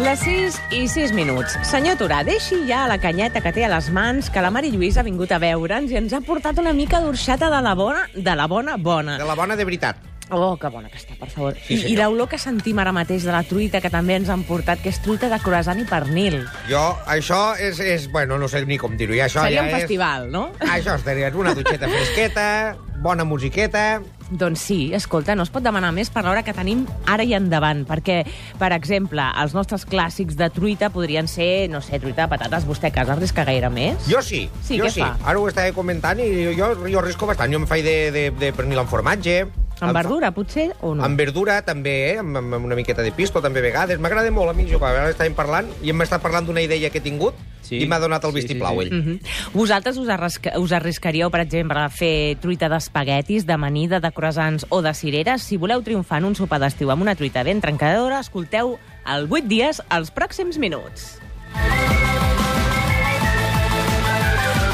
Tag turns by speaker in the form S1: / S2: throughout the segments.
S1: Les 6 i 6 minuts. Senyor Turà, deixi ja la canyeta que té a les mans, que la Mari Lluís ha vingut a veure'ns i ens ha portat una mica d'orxata de la bona, de la bona bona.
S2: De la bona de veritat.
S1: Oh, que bona que està, per favor.
S2: Sí,
S1: I- I
S2: senyor.
S1: l'olor que sentim ara mateix de la truita que també ens han portat, que és truita de croissant i pernil.
S2: Jo, això és... és bueno, no sé ni com dir-ho. ja, Això
S1: Seria
S2: ja
S1: un festival, no?
S2: És, això seria una dutxeta fresqueta, bona musiqueta...
S1: Doncs sí, escolta, no es pot demanar més per l'hora que tenim ara i endavant, perquè, per exemple, els nostres clàssics de truita podrien ser, no sé, truita de patates, vostè que arrisca gaire més?
S2: Jo sí,
S1: Sí,
S2: jo
S1: què
S2: sí.
S1: fa?
S2: Ara ho estava comentant i jo, jo, jo risco bastant. Jo em faig de, de, de pernil amb formatge... em
S1: Amb
S2: fa-
S1: verdura, potser, o no?
S2: Amb verdura, també, eh? amb, amb una miqueta de pisto, també, a vegades. M'agrada molt, a mi, jo, ara estàvem parlant, i em està parlant d'una idea que he tingut,
S3: Sí.
S2: sí. i m'ha donat el
S3: Sí, sí,
S2: vistiplau,
S3: sí.
S2: ell.
S3: Mm.
S1: Mhm. Vosaltres us, arrisca, us arriscaríeu, per exemple, a fer truita d'espaguetis, d'amanida, de croissants o de cireres? Si voleu triomfar en un sopar d'estiu amb una truita ben trencadora, escolteu el 8 dies als pròxims minuts.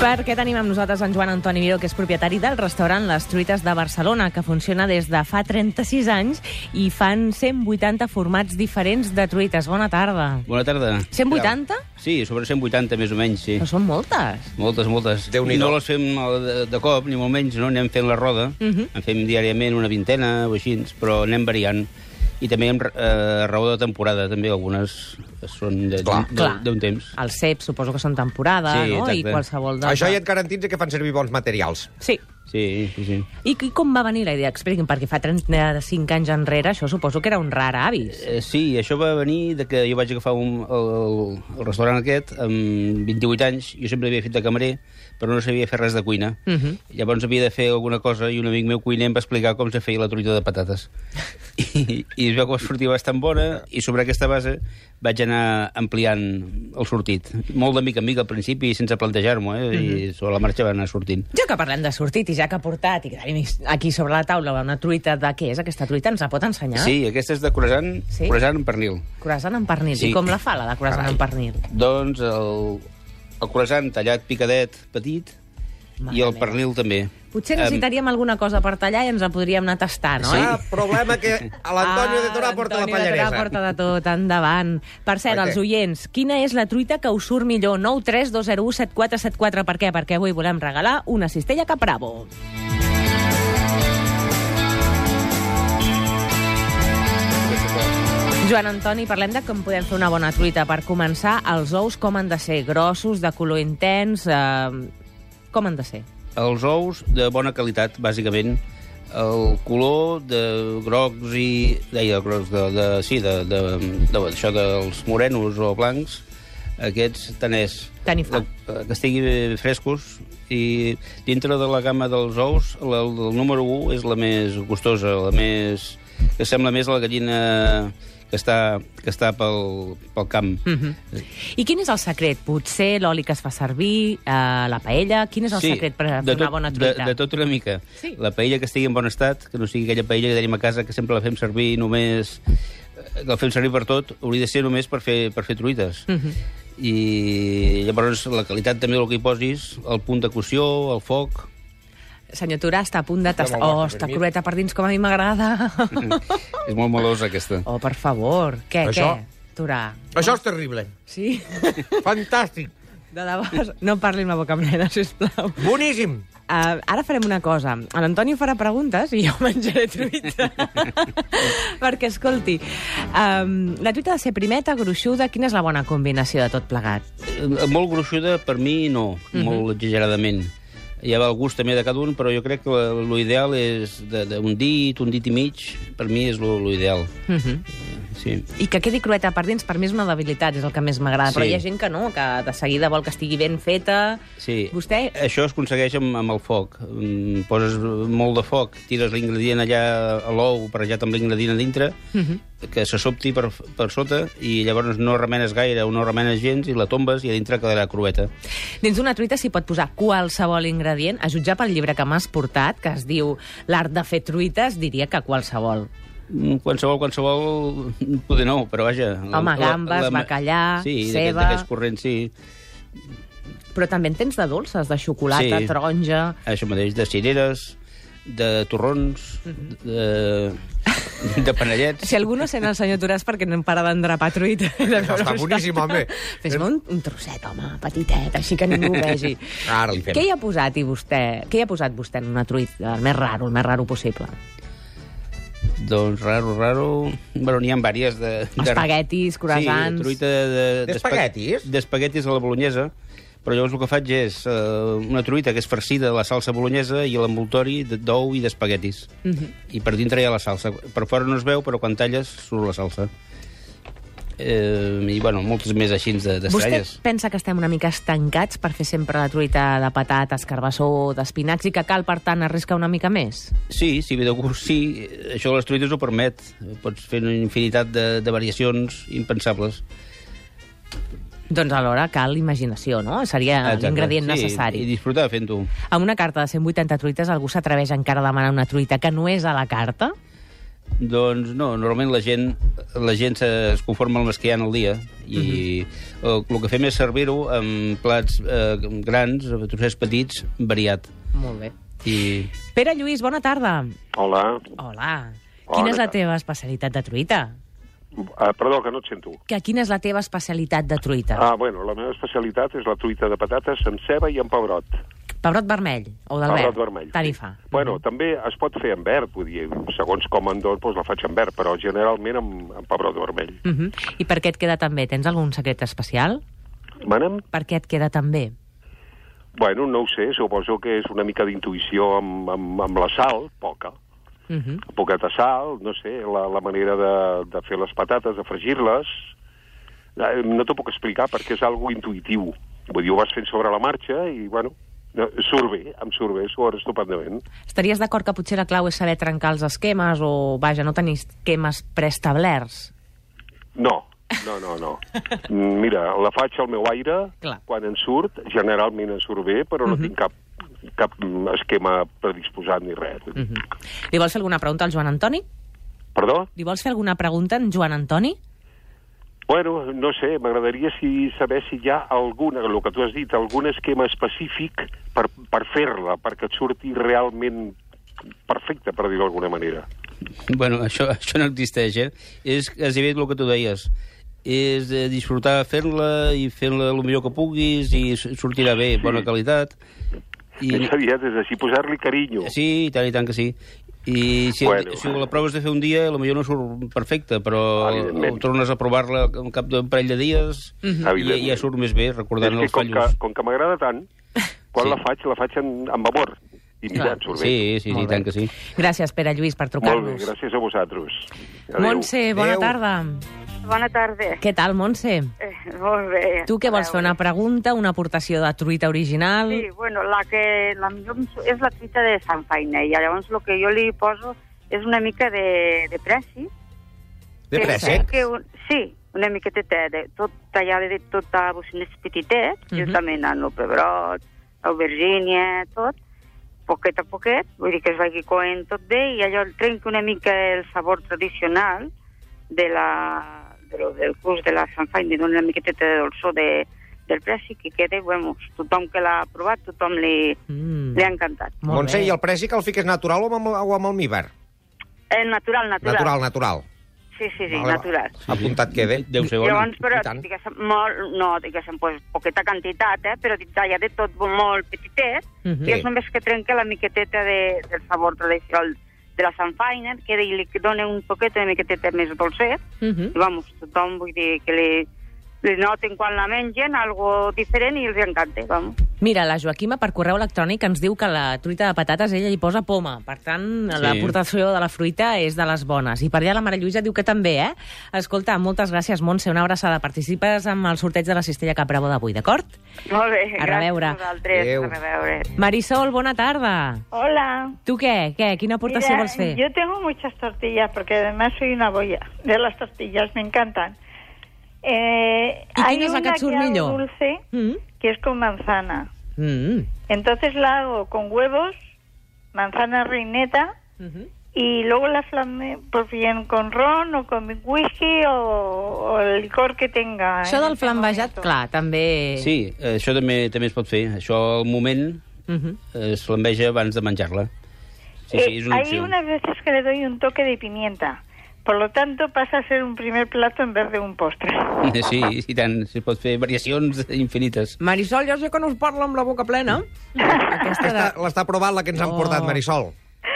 S1: Perquè tenim amb nosaltres en Joan Antoni Miró, que és propietari del restaurant Les Truites de Barcelona, que funciona des de fa 36 anys i fan 180 formats diferents de truites. Bona tarda.
S3: Bona tarda.
S1: 180?
S3: Sí, sobre 180 més o menys, sí.
S1: Però són moltes.
S3: Moltes, moltes.
S2: Déu-n'hi-do.
S3: No les fem eh, de, de cop, ni molt menys, no? Anem fent la roda.
S1: Mhm.
S3: En fem diàriament una vintena o així, però anem variant. I també amb eh, raó de temporada, també algunes són de-
S2: Clar.
S3: de-
S1: Clar.
S3: d'un temps.
S1: Els ceps suposo que són temporada,
S3: Sí,
S1: no? I
S3: exacte.
S1: qualsevol de...
S2: Això ja et garantitza que fan servir bons materials.
S1: Sí.
S3: Sí, sí, sí.
S1: I, I com va venir la idea? Expliqui'm, perquè fa 35 anys enrere això suposo que era un rar avis.
S3: Eh, Sí, això va venir de que jo vaig agafar un, el, el restaurant aquest amb 28 anys. Jo sempre havia fet de camarer, però no sabia fer res de cuina.
S1: Uh -huh.
S3: Llavors havia de fer alguna cosa i un amic meu cuiner em va explicar com se feia la truita de patates. I, i es veu que va sortir bastant bona i sobre aquesta base vaig anar ampliant el sortit. Molt de mica en mica al principi, sense plantejar-m'ho, eh? i sobre la marxa va anar sortint.
S1: Ja que parlem de sortit i ja que ha portat i que tenim aquí sobre la taula una truita de què és aquesta truita, ens la pot ensenyar?
S3: Sí, aquesta és de croissant,
S1: Sí?
S3: croissant amb pernil.
S1: Croissant amb pernil.
S3: Sí.
S1: I com la fa, la de croissant amb pernil?
S3: Doncs el, el croissant tallat picadet petit
S1: Mare
S3: i el
S1: meva.
S3: pernil també.
S1: Potser
S3: Em-
S1: necessitaríem alguna cosa per tallar i ens la podríem anar a tastar, no?
S2: Sí. Ah, problema que a l'Antonio de Torà porta la
S1: Ah, Antonio de Torà
S2: pallaresa.
S1: porta de tot, endavant. Per cert,
S2: Oi,
S1: els
S2: què?
S1: oients, quina és la truita que us surt millor? 9 3 2 0 1 7 4 7 4. Per què? Perquè avui volem regalar una cistella Capravo. Joan Antoni, parlem de com podem fer una bona truita. Per començar, els ous com han de ser? Grossos, de color intens... Eh, com han de ser?
S3: Els ous de bona qualitat, bàsicament. El color de grocs i... Deia, grocs de, de, sí, de, de, de, això dels morenos o blancs, aquests tant és...
S1: Tant hi fa.
S3: La- que estigui frescos i dintre de la gamma dels ous la, el número 1 és la més gustosa, la més... que sembla més la gallina que està, que està pel, pel camp.
S1: Mhm. I quin és el secret? Potser l'oli que es fa servir, eh, la paella... Quin és el secret per fer
S3: de
S1: una
S3: tot-
S1: bona truita?
S3: De, de tot una mica.
S1: Sí.
S3: La paella que estigui en bon estat, que no sigui aquella paella que tenim a casa que sempre la fem servir només... eh, La fem servir per tot, hauria de ser només per fer, per fer truites.
S1: Mhm.
S3: I llavors la qualitat també del que hi posis, el punt de coció, el foc...
S1: Senyor Turà, està a punt de tastar...
S2: me'l vas
S1: Oh,
S2: a
S1: està
S2: permit.
S1: crueta per dins, com a mi m'agrada.
S3: és molt melosa, aquesta.
S1: oh, per favor. Què,
S2: Això-
S1: què? Turà.
S2: Això és terrible.
S1: Sí?
S2: Fantàstic.
S1: De debò, no parli amb la boca plena, sisplau.
S2: Boníssim.
S1: Uh, ara farem una cosa. A l'Antoni farà preguntes i jo menjaré truita. Perquè, escolti, um, la truita ha de ser primeta, gruixuda... Quina és la bona combinació de tot plegat?
S3: Eh, Molt gruixuda, per mi, no.
S1: Mhm.
S3: Molt exageradament. Hi ha el gust també de cada un, però jo crec que l'ideal és de- d'un dit, un dit i mig, per mi és l'ideal.
S1: Uh -huh.
S3: Sí.
S1: I que quedi crueta per dins, per mi és una debilitat, és el que més m'agrada. Sí. Però
S3: Sí.
S1: hi ha gent que no, que de seguida vol que estigui ben feta.
S3: Sí.
S1: Vostè... eh,
S3: Això es aconsegueix amb, amb el foc. Mm, poses molt de foc, tires l'ingredient allà a l'ou, parejat amb l'ingredient a dintre,
S1: Mhm.
S3: que se sobti per, per sota, i llavors no remenes gaire o no remenes gens, i la tombes, i a dintre quedarà crueta.
S1: Dins d'una truita s'hi pot posar qualsevol ingredient. A jutjar pel llibre que m'has portat, que es diu L'art de fer truites, diria que qualsevol.
S3: Mm, Qualsevol, qualsevol, poder no, però vaja... la-
S1: Home,
S3: la-
S1: gambes,
S3: ma-
S1: bacallà,
S3: sí,
S1: ceba.
S3: d'aquest- d'aquests corrents, sí.
S1: Però també en tens de dolces, de xocolata,
S3: Sí.
S1: taronja... Mhm.
S3: Això mateix, de cireres, de torrons, de... de panellets.
S1: Si algú no sent el senyor Toràs perquè no em para d'endrapar truita.
S2: Està boníssim, home.
S1: Fes-me un, un trosset, home, petitet, així que ningú ho vegi.
S2: Ara li fem.
S1: Què hi ha posat i vostè... Què hi ha posat vostè en una truita? El més raro, el més raro possible.
S3: Doncs raro, raro... Bueno, n'hi ha vàries de... de-
S1: Espaguetis, croissants...
S3: Sí, truita de...
S2: D'espaguetis?
S3: d'espa- D'espaguetis a la bolognesa. Però llavors el que faig és eh, una truita que és farcida a la salsa bolognesa i a l'envoltori de- d'ou i d'espaguetis. Mm
S1: Mhm.
S3: -hmm. I per dintre hi ha la salsa. Per fora no es veu, però quan talles surt la salsa. Eh, I, bueno, moltes més així de-
S1: Vostè
S3: d'estranyes.
S1: pensa que estem una mica estancats per fer sempre la truita de patates, carbassó, d'espinacs i que cal, per tant, arriscar una mica més?
S3: Sí, si ve de gust, sí. Això de les truites ho permet. Pots fer una infinitat de, de variacions impensables.
S1: Doncs alhora cal imaginació, no? Seria
S3: Exacte.
S1: Ah, l'ingredient
S3: sí,
S1: necessari.
S3: I disfrutar fent-ho.
S1: Amb una carta de 180 truites algú s'atreveix encara a demanar una truita que no és a la carta?
S3: Doncs no, normalment la gent, la gent se- es conforma amb les que hi ha al dia i
S1: Mhm.
S3: el, el que fem és servir-ho amb plats eh, grans, trossets petits, variat.
S1: Molt bé.
S3: I
S1: Pere Lluís, bona tarda.
S4: Hola.
S1: Hola.
S4: Hola,
S1: Quina és
S4: què
S1: la
S4: tal?
S1: teva especialitat de truita?
S4: Ah, perdó, que no et sento.
S1: Que quina és la teva especialitat de truita?
S4: Ah, bueno, la meva especialitat és la truita de patates amb ceba i amb pebrot.
S1: Pebrot vermell o del
S4: pebrot
S1: verd?
S4: vermell.
S1: Tant hi fa.
S4: Bueno, també es pot fer amb verd, vull dir, segons com en dono, doncs la faig amb verd, però generalment amb, amb pebrot vermell.
S1: Uh -huh. I per què et queda tan bé? Tens algun secret especial?
S4: Manem?
S1: Per què et queda tan bé?
S4: Bueno, no ho sé, suposo que és una mica d'intuïció amb, amb, amb la sal, poca.
S1: Uh -huh.
S4: Poqueta sal, no sé, la, la manera de, de fer les patates, de fregir-les... Eh, No t'ho puc explicar perquè és algo intuïtiu. Vull dir, ho vas fent sobre la marxa i, bueno, no, surt bé, em surt bé, surt estupendament.
S1: Estaries d'acord que potser la clau és saber trencar els esquemes o, vaja, no tenir esquemes preestablerts?
S4: No, no, no, no. Mm, Mira, la faig al meu aire,
S1: Clar.
S4: quan en surt, generalment en surt bé, però no tinc cap, cap mm, esquema predisposat ni res.
S1: Uh -huh. Li vols fer alguna pregunta al Joan Antoni?
S4: Perdó?
S1: Li vols fer alguna pregunta en Joan Antoni?
S4: Bueno, no sé, m'agradaria si saber si hi ha alguna, el que tu has dit, algun esquema específic per, per fer-la, perquè et surti realment perfecta, per dir-ho d'alguna manera.
S3: Bueno, això, això no existeix, eh? És gairebé el que tu deies. És eh, disfrutar fent-la i fent-la el millor que puguis i s- sortirà bé, bona qualitat.
S4: I... És aviat, és així, posar-li carinyo.
S3: Sí, i tant, i tant que sí. I si, bueno.
S4: Bueno.
S3: si la proves de fer un dia, potser no surt perfecte, però
S4: Evidentment.
S3: ho tornes a provar-la al cap d'un parell de dies mm -hmm. i
S4: Evidentment.
S3: ja surt més bé, recordant
S4: és
S3: els
S4: que com que,
S3: fallos.
S4: com que m'agrada tant, quan
S3: Sí.
S4: la faig, la faig en, amb amor. I mira,
S1: Clar.
S4: em surt bé.
S3: Sí, sí, sí,
S1: Molt
S3: i
S1: bé.
S3: tant que sí.
S1: Gràcies, Pere Lluís, per
S4: Molt bé,
S1: trucar-nos.
S4: gràcies a vosaltres. Adéu.
S1: Montse, bona
S2: Adéu.
S1: tarda.
S5: Bona tarda.
S1: Què tal, Montse?
S5: Eh, molt bé.
S1: Tu què vols
S5: A
S1: fer, una
S5: veure.
S1: pregunta, una aportació de truita original?
S5: Sí, bueno, la que la millor em su- és la truita de Sant Fainé, i llavors el que jo li poso és una mica de, de pressi.
S2: De
S5: Que-
S2: préssec?
S5: Que un, sí, una miqueta de, de tot tallada de tot a bocinets petitet, mm
S1: Mhm.
S5: -hmm. juntament amb el pebrot, l'aubergínia, tot, poquet a poquet, vull dir que es vagi coent tot bé, i allò el trenqui una mica el sabor tradicional de la, de lo, del gust de la sanfaina, dona una miqueteta de dolçó de, del presi, que quede, bueno, tothom que l'ha provat, tothom li,
S2: Mhm.
S1: Mm.
S5: li ha encantat.
S1: Molt
S2: Montse,
S1: bé.
S2: i el préssec el fiques natural o amb, o amb almíbar?
S5: Eh, natural, natural.
S2: Natural, natural.
S5: Sí, sí, sí,
S2: Vale, va.
S5: natural.
S2: Apuntat quede.
S3: Deu ser bona.
S5: Llavors, però,
S2: I tant.
S5: diguéssim, molt, no, diguéssim, pues, poqueta quantitat, eh, però talla de tot molt petitet,
S1: Mhm.
S5: i és només que trenca la miqueteta de, del sabor tradicional de la sanfaina, que i li dona un poquet una miqueteta més dolcet,
S1: Mhm.
S2: Mm.
S5: i, vamos, tothom vull dir que li, li noten quan la mengen algo diferent i els encanta, vamos.
S1: Mira, la Joaquima, per correu electrònic, ens diu que la truita de patates ella hi posa poma. Per tant,
S3: Sí.
S1: l'aportació de la fruita és de les bones. I per allà la Mare Lluïsa diu que també, eh? Escolta, moltes gràcies, Montse. Una abraçada. Participes amb el sorteig de la cistella Caprabo d'avui, d'acord?
S5: Molt bé,
S1: A
S5: gràcies
S1: reveure.
S5: a vosaltres.
S2: Adéu.
S5: A reveure.
S1: Marisol, bona tarda.
S6: Hola.
S1: Tu què? Què? Quina aportació
S6: Mira,
S1: vols fer?
S6: Yo tengo muchas tortillas porque además soy una boya de las tortillas, me encantan. Eh,
S1: ¿Y
S6: hay
S1: quién es la
S6: una
S1: que
S6: que hago
S1: churmillo?
S6: dulce
S1: Mm.
S6: que es con manzana.
S1: Mm.
S6: Entonces la hago con huevos, manzana reineta
S1: Mhm.
S6: y luego la flameo pues bien con ron o con whisky o, o el licor que tenga.
S1: Això
S6: en
S1: del
S6: ese
S1: flambejat,
S6: momento.
S1: clar, també...
S3: Sí, eh, això també també es pot fer. Això al moment
S1: Mhm.
S3: eh, es flambeja abans de menjar-la. Sí,
S6: Eh,
S3: sí, es una
S6: hay
S3: opción.
S6: unas veces que le doy un toque de pimienta. Por lo tanto, pasa a ser un primer plato en vez de un postre.
S3: Sí, i tant, s'hi pot fer variacions infinites.
S1: Marisol, ja sé que no us parla amb la boca plena. Aquesta de,
S2: Aquesta L'està provant la que ens han
S1: Oh.
S2: portat, Marisol.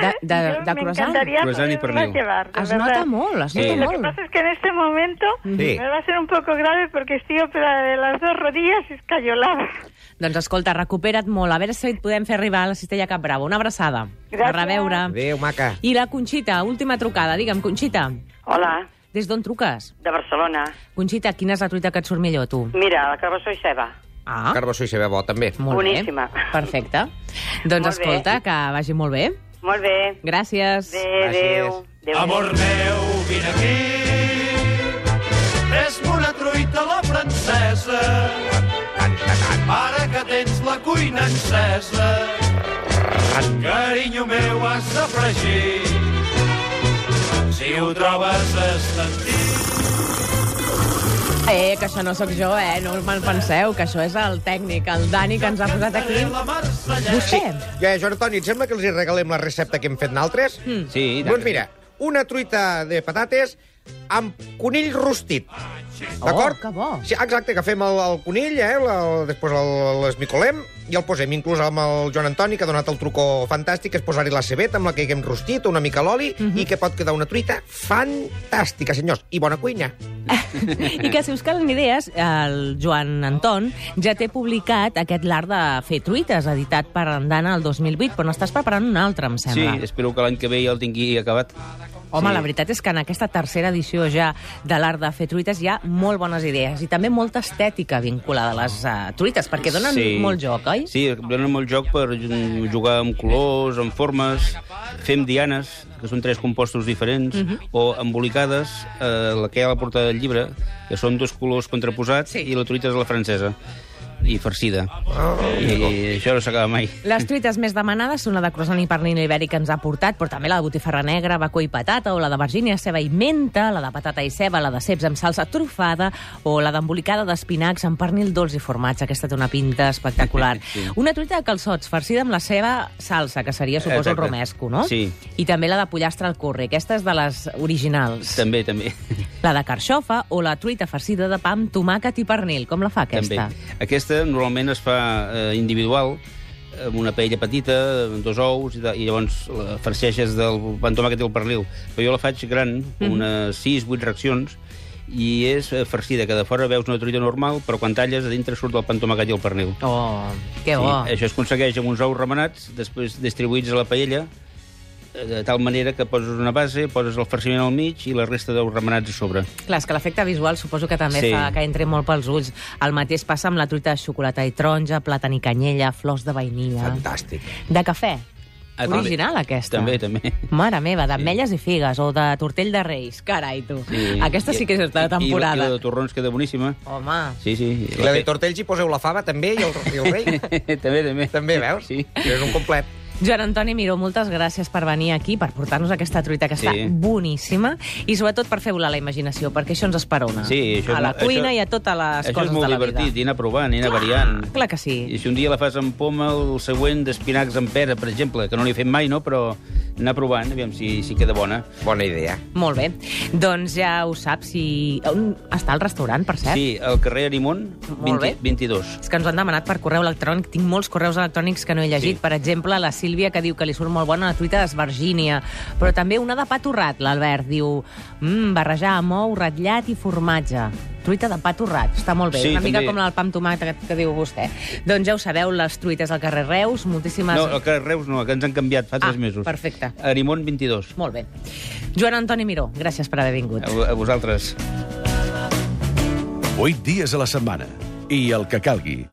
S6: Ah,
S1: de, de,
S6: Yo
S1: de
S6: me
S1: croissant.
S6: encantaría
S3: Croissant y
S6: poderme
S3: pernil.
S6: llevar, de
S1: Es
S6: verdad.
S1: nota molt, es
S3: Sí.
S1: nota
S3: Lo
S6: Lo que
S1: molt.
S6: pasa es que en este momento
S2: Sí.
S6: me va a ser un poco grave porque estoy operada de las dos rodillas escayolada.
S1: Doncs escolta, recupera't molt. A veure si et podem fer arribar a la Cistella Cap Bravo. Una abraçada.
S6: Gràcies.
S1: A reveure.
S2: Adéu, maca.
S1: I la Conxita, última trucada. Digue'm, Conxita,
S7: Hola,
S1: des d'on truques?
S7: de Barcelona.
S1: Conxita, quina és la truita que et surt millor, tu?
S7: Mira, la carbassó i ceba.
S1: Ah,
S2: Carbassó i Sebebó, també.
S1: molt
S7: boníssima.
S1: bé. Perfecte. Doncs
S7: Molt bé.
S1: escolta, que vagi molt bé.
S7: Molt bé.
S1: Gràcies.
S7: Adéu,
S2: Gràcies.
S7: adéu. adéu.
S8: Amor meu, vine aquí. Fes-me una truita a la francesa. Ara que tens la cuina encesa. Carinyo meu, has de fregir. Si ho trobes estantit...
S1: Eh, que això no sóc jo, eh? No us me'n penseu, que això és el tècnic, el Dani, que ens ha posat aquí.
S8: La Marsellesa.
S1: Vostè,
S2: Ja, Jordi, Toni, et sembla que els hi regalem la recepta que hem fet naltres?
S1: Hmm.
S2: Mm.
S3: Sí, i tant.
S2: Doncs mira, una truita de patates amb conill rostit. D'acord?
S1: Oh, que bo.
S2: Sí, exacte, agafem el, el conill, eh, el, el, després el- l'esmicolem i el posem inclús amb el Joan Antoni, que ha donat el trucó fantàstic, és posar-hi la cebeta amb la que haguem rostit, una mica l'oli,
S1: Mhm.
S2: i que pot quedar una truita fantàstica, senyors, i bona cuina.
S1: I que si us calen idees, el Joan Anton ja té publicat aquest l'art de fer truites, editat per Andana el 2008, però n'estàs preparant un altre, em
S3: Sí,
S1: sembla.
S3: espero que l'any que ve ja el tingui acabat.
S1: Home, sí. la veritat és que en aquesta tercera edició ja de l'art de fer truites hi ha molt bones idees i també molta estètica vinculada a les uh, truites, perquè donen sí. molt joc, oi?
S3: Sí, donen molt joc per mm, jugar amb colors, amb formes, fer amb dianes, que són tres compostos diferents,
S1: Mhm.
S3: o embolicades, eh, la que hi ha a la portada del llibre, que són dos colors contraposats,
S1: Sí.
S3: i la truita és la francesa, i farcida. I, això no s'acaba mai.
S1: Les truites més demanades són la de croissant i pernil ibèric que ens ha portat, però també la de botifarra negra, bacó i patata, o la de vergínia, ceba i menta, la de patata i ceba, la de ceps amb salsa trufada, o la d'embolicada d'espinacs amb pernil dolç i formatge. Aquesta té una pinta espectacular. Sí. Una truita de calçots farcida amb la seva salsa, que seria, suposo, el
S3: Exacte.
S1: romesco, no?
S3: Sí.
S1: I també la de pollastre al curri. Aquesta és de les originals.
S3: També, també.
S1: La de carxofa o la truita farcida de pa amb tomàquet i pernil. Com la fa aquesta?
S3: També. Aquesta normalment es fa eh, individual, amb una paella petita, amb dos ous, i, de, i llavors la farceixes del pantoma que té el pernil. Però jo la faig gran, mm
S1: Mhm.
S3: -hmm. unes 6-8 reaccions, i és eh, farcida, que de fora veus una truita normal, però quan talles, a dintre surt el pantomàquet i el pernil.
S1: Oh, que bo.
S3: Sí, això es aconsegueix amb uns ous remenats, després distribuïts a la paella, eh, de tal manera que poses una base, poses el farciment al mig i la resta d'ous remenats a sobre.
S1: Clar, és que l'efecte visual suposo que també sí.
S3: Sí.
S1: fa que entri molt pels ulls. El mateix passa amb la truita de xocolata i taronja, plàtan i canyella, flors de vainilla...
S2: Fantàstic.
S1: De cafè.
S3: Ah, també.
S1: Original, aquesta.
S3: També, també.
S1: Mare meva, d'ametlles i figues, o de tortell de reis. Carai, tu. Sí. Aquesta sí que és de
S3: I, i la
S1: temporada.
S3: de torrons queda boníssima.
S1: Home,
S3: Sí, sí.
S2: I la de tortells hi poseu la fava, també, i el, i el rei.
S3: també, també.
S2: també, veus?
S3: Sí.
S2: És un complet.
S1: Joan Antoni Miró, moltes gràcies per venir aquí, per portar-nos aquesta truita que està
S3: Sí.
S1: boníssima i sobretot per fer volar la imaginació, perquè això ens esperona.
S3: Sí, això és
S1: a la
S3: molt-
S1: cuina
S3: això-
S1: i a totes les
S3: Això
S1: coses
S3: és molt
S1: de la
S3: divertit,
S1: vida. Ah,
S3: i anar provant, i anar variant.
S1: Clar que sí.
S3: I si un dia la fas amb poma, el següent d'espinacs amb pera, per exemple, que no l'he fet mai, no?, però anar provant, aviam si, si queda bona.
S2: Bona idea.
S1: Molt bé. Doncs ja ho saps si... On està el restaurant, per cert?
S3: Sí, al carrer Arimon,
S1: Molt bé.
S3: 20, 22.
S1: És que ens ho han demanat per correu electrònic. Tinc molts correus electrònics que no he llegit.
S3: Sí.
S1: Per exemple, la Sílvia, que diu que li surt molt bona la truita d'esvergínia. Però també una de pa torrat, l'Albert. Diu, mmm, barrejar amb ou, ratllat i formatge. Truita de pa torrat. Està molt bé.
S3: Sí,
S1: una mica
S3: també.
S1: com la del pa amb tomàquet que, que diu vostè. Doncs ja ho sabeu, les truites al carrer Reus, moltíssimes...
S3: No, al carrer Reus no, que ens han canviat fa
S1: Ah,
S3: tres mesos.
S1: perfecte.
S3: Arimon, 22.
S1: Molt bé. Joan Antoni Miró, gràcies per haver vingut.
S3: A, a vosaltres.
S9: 8 dies a la setmana i el que calgui.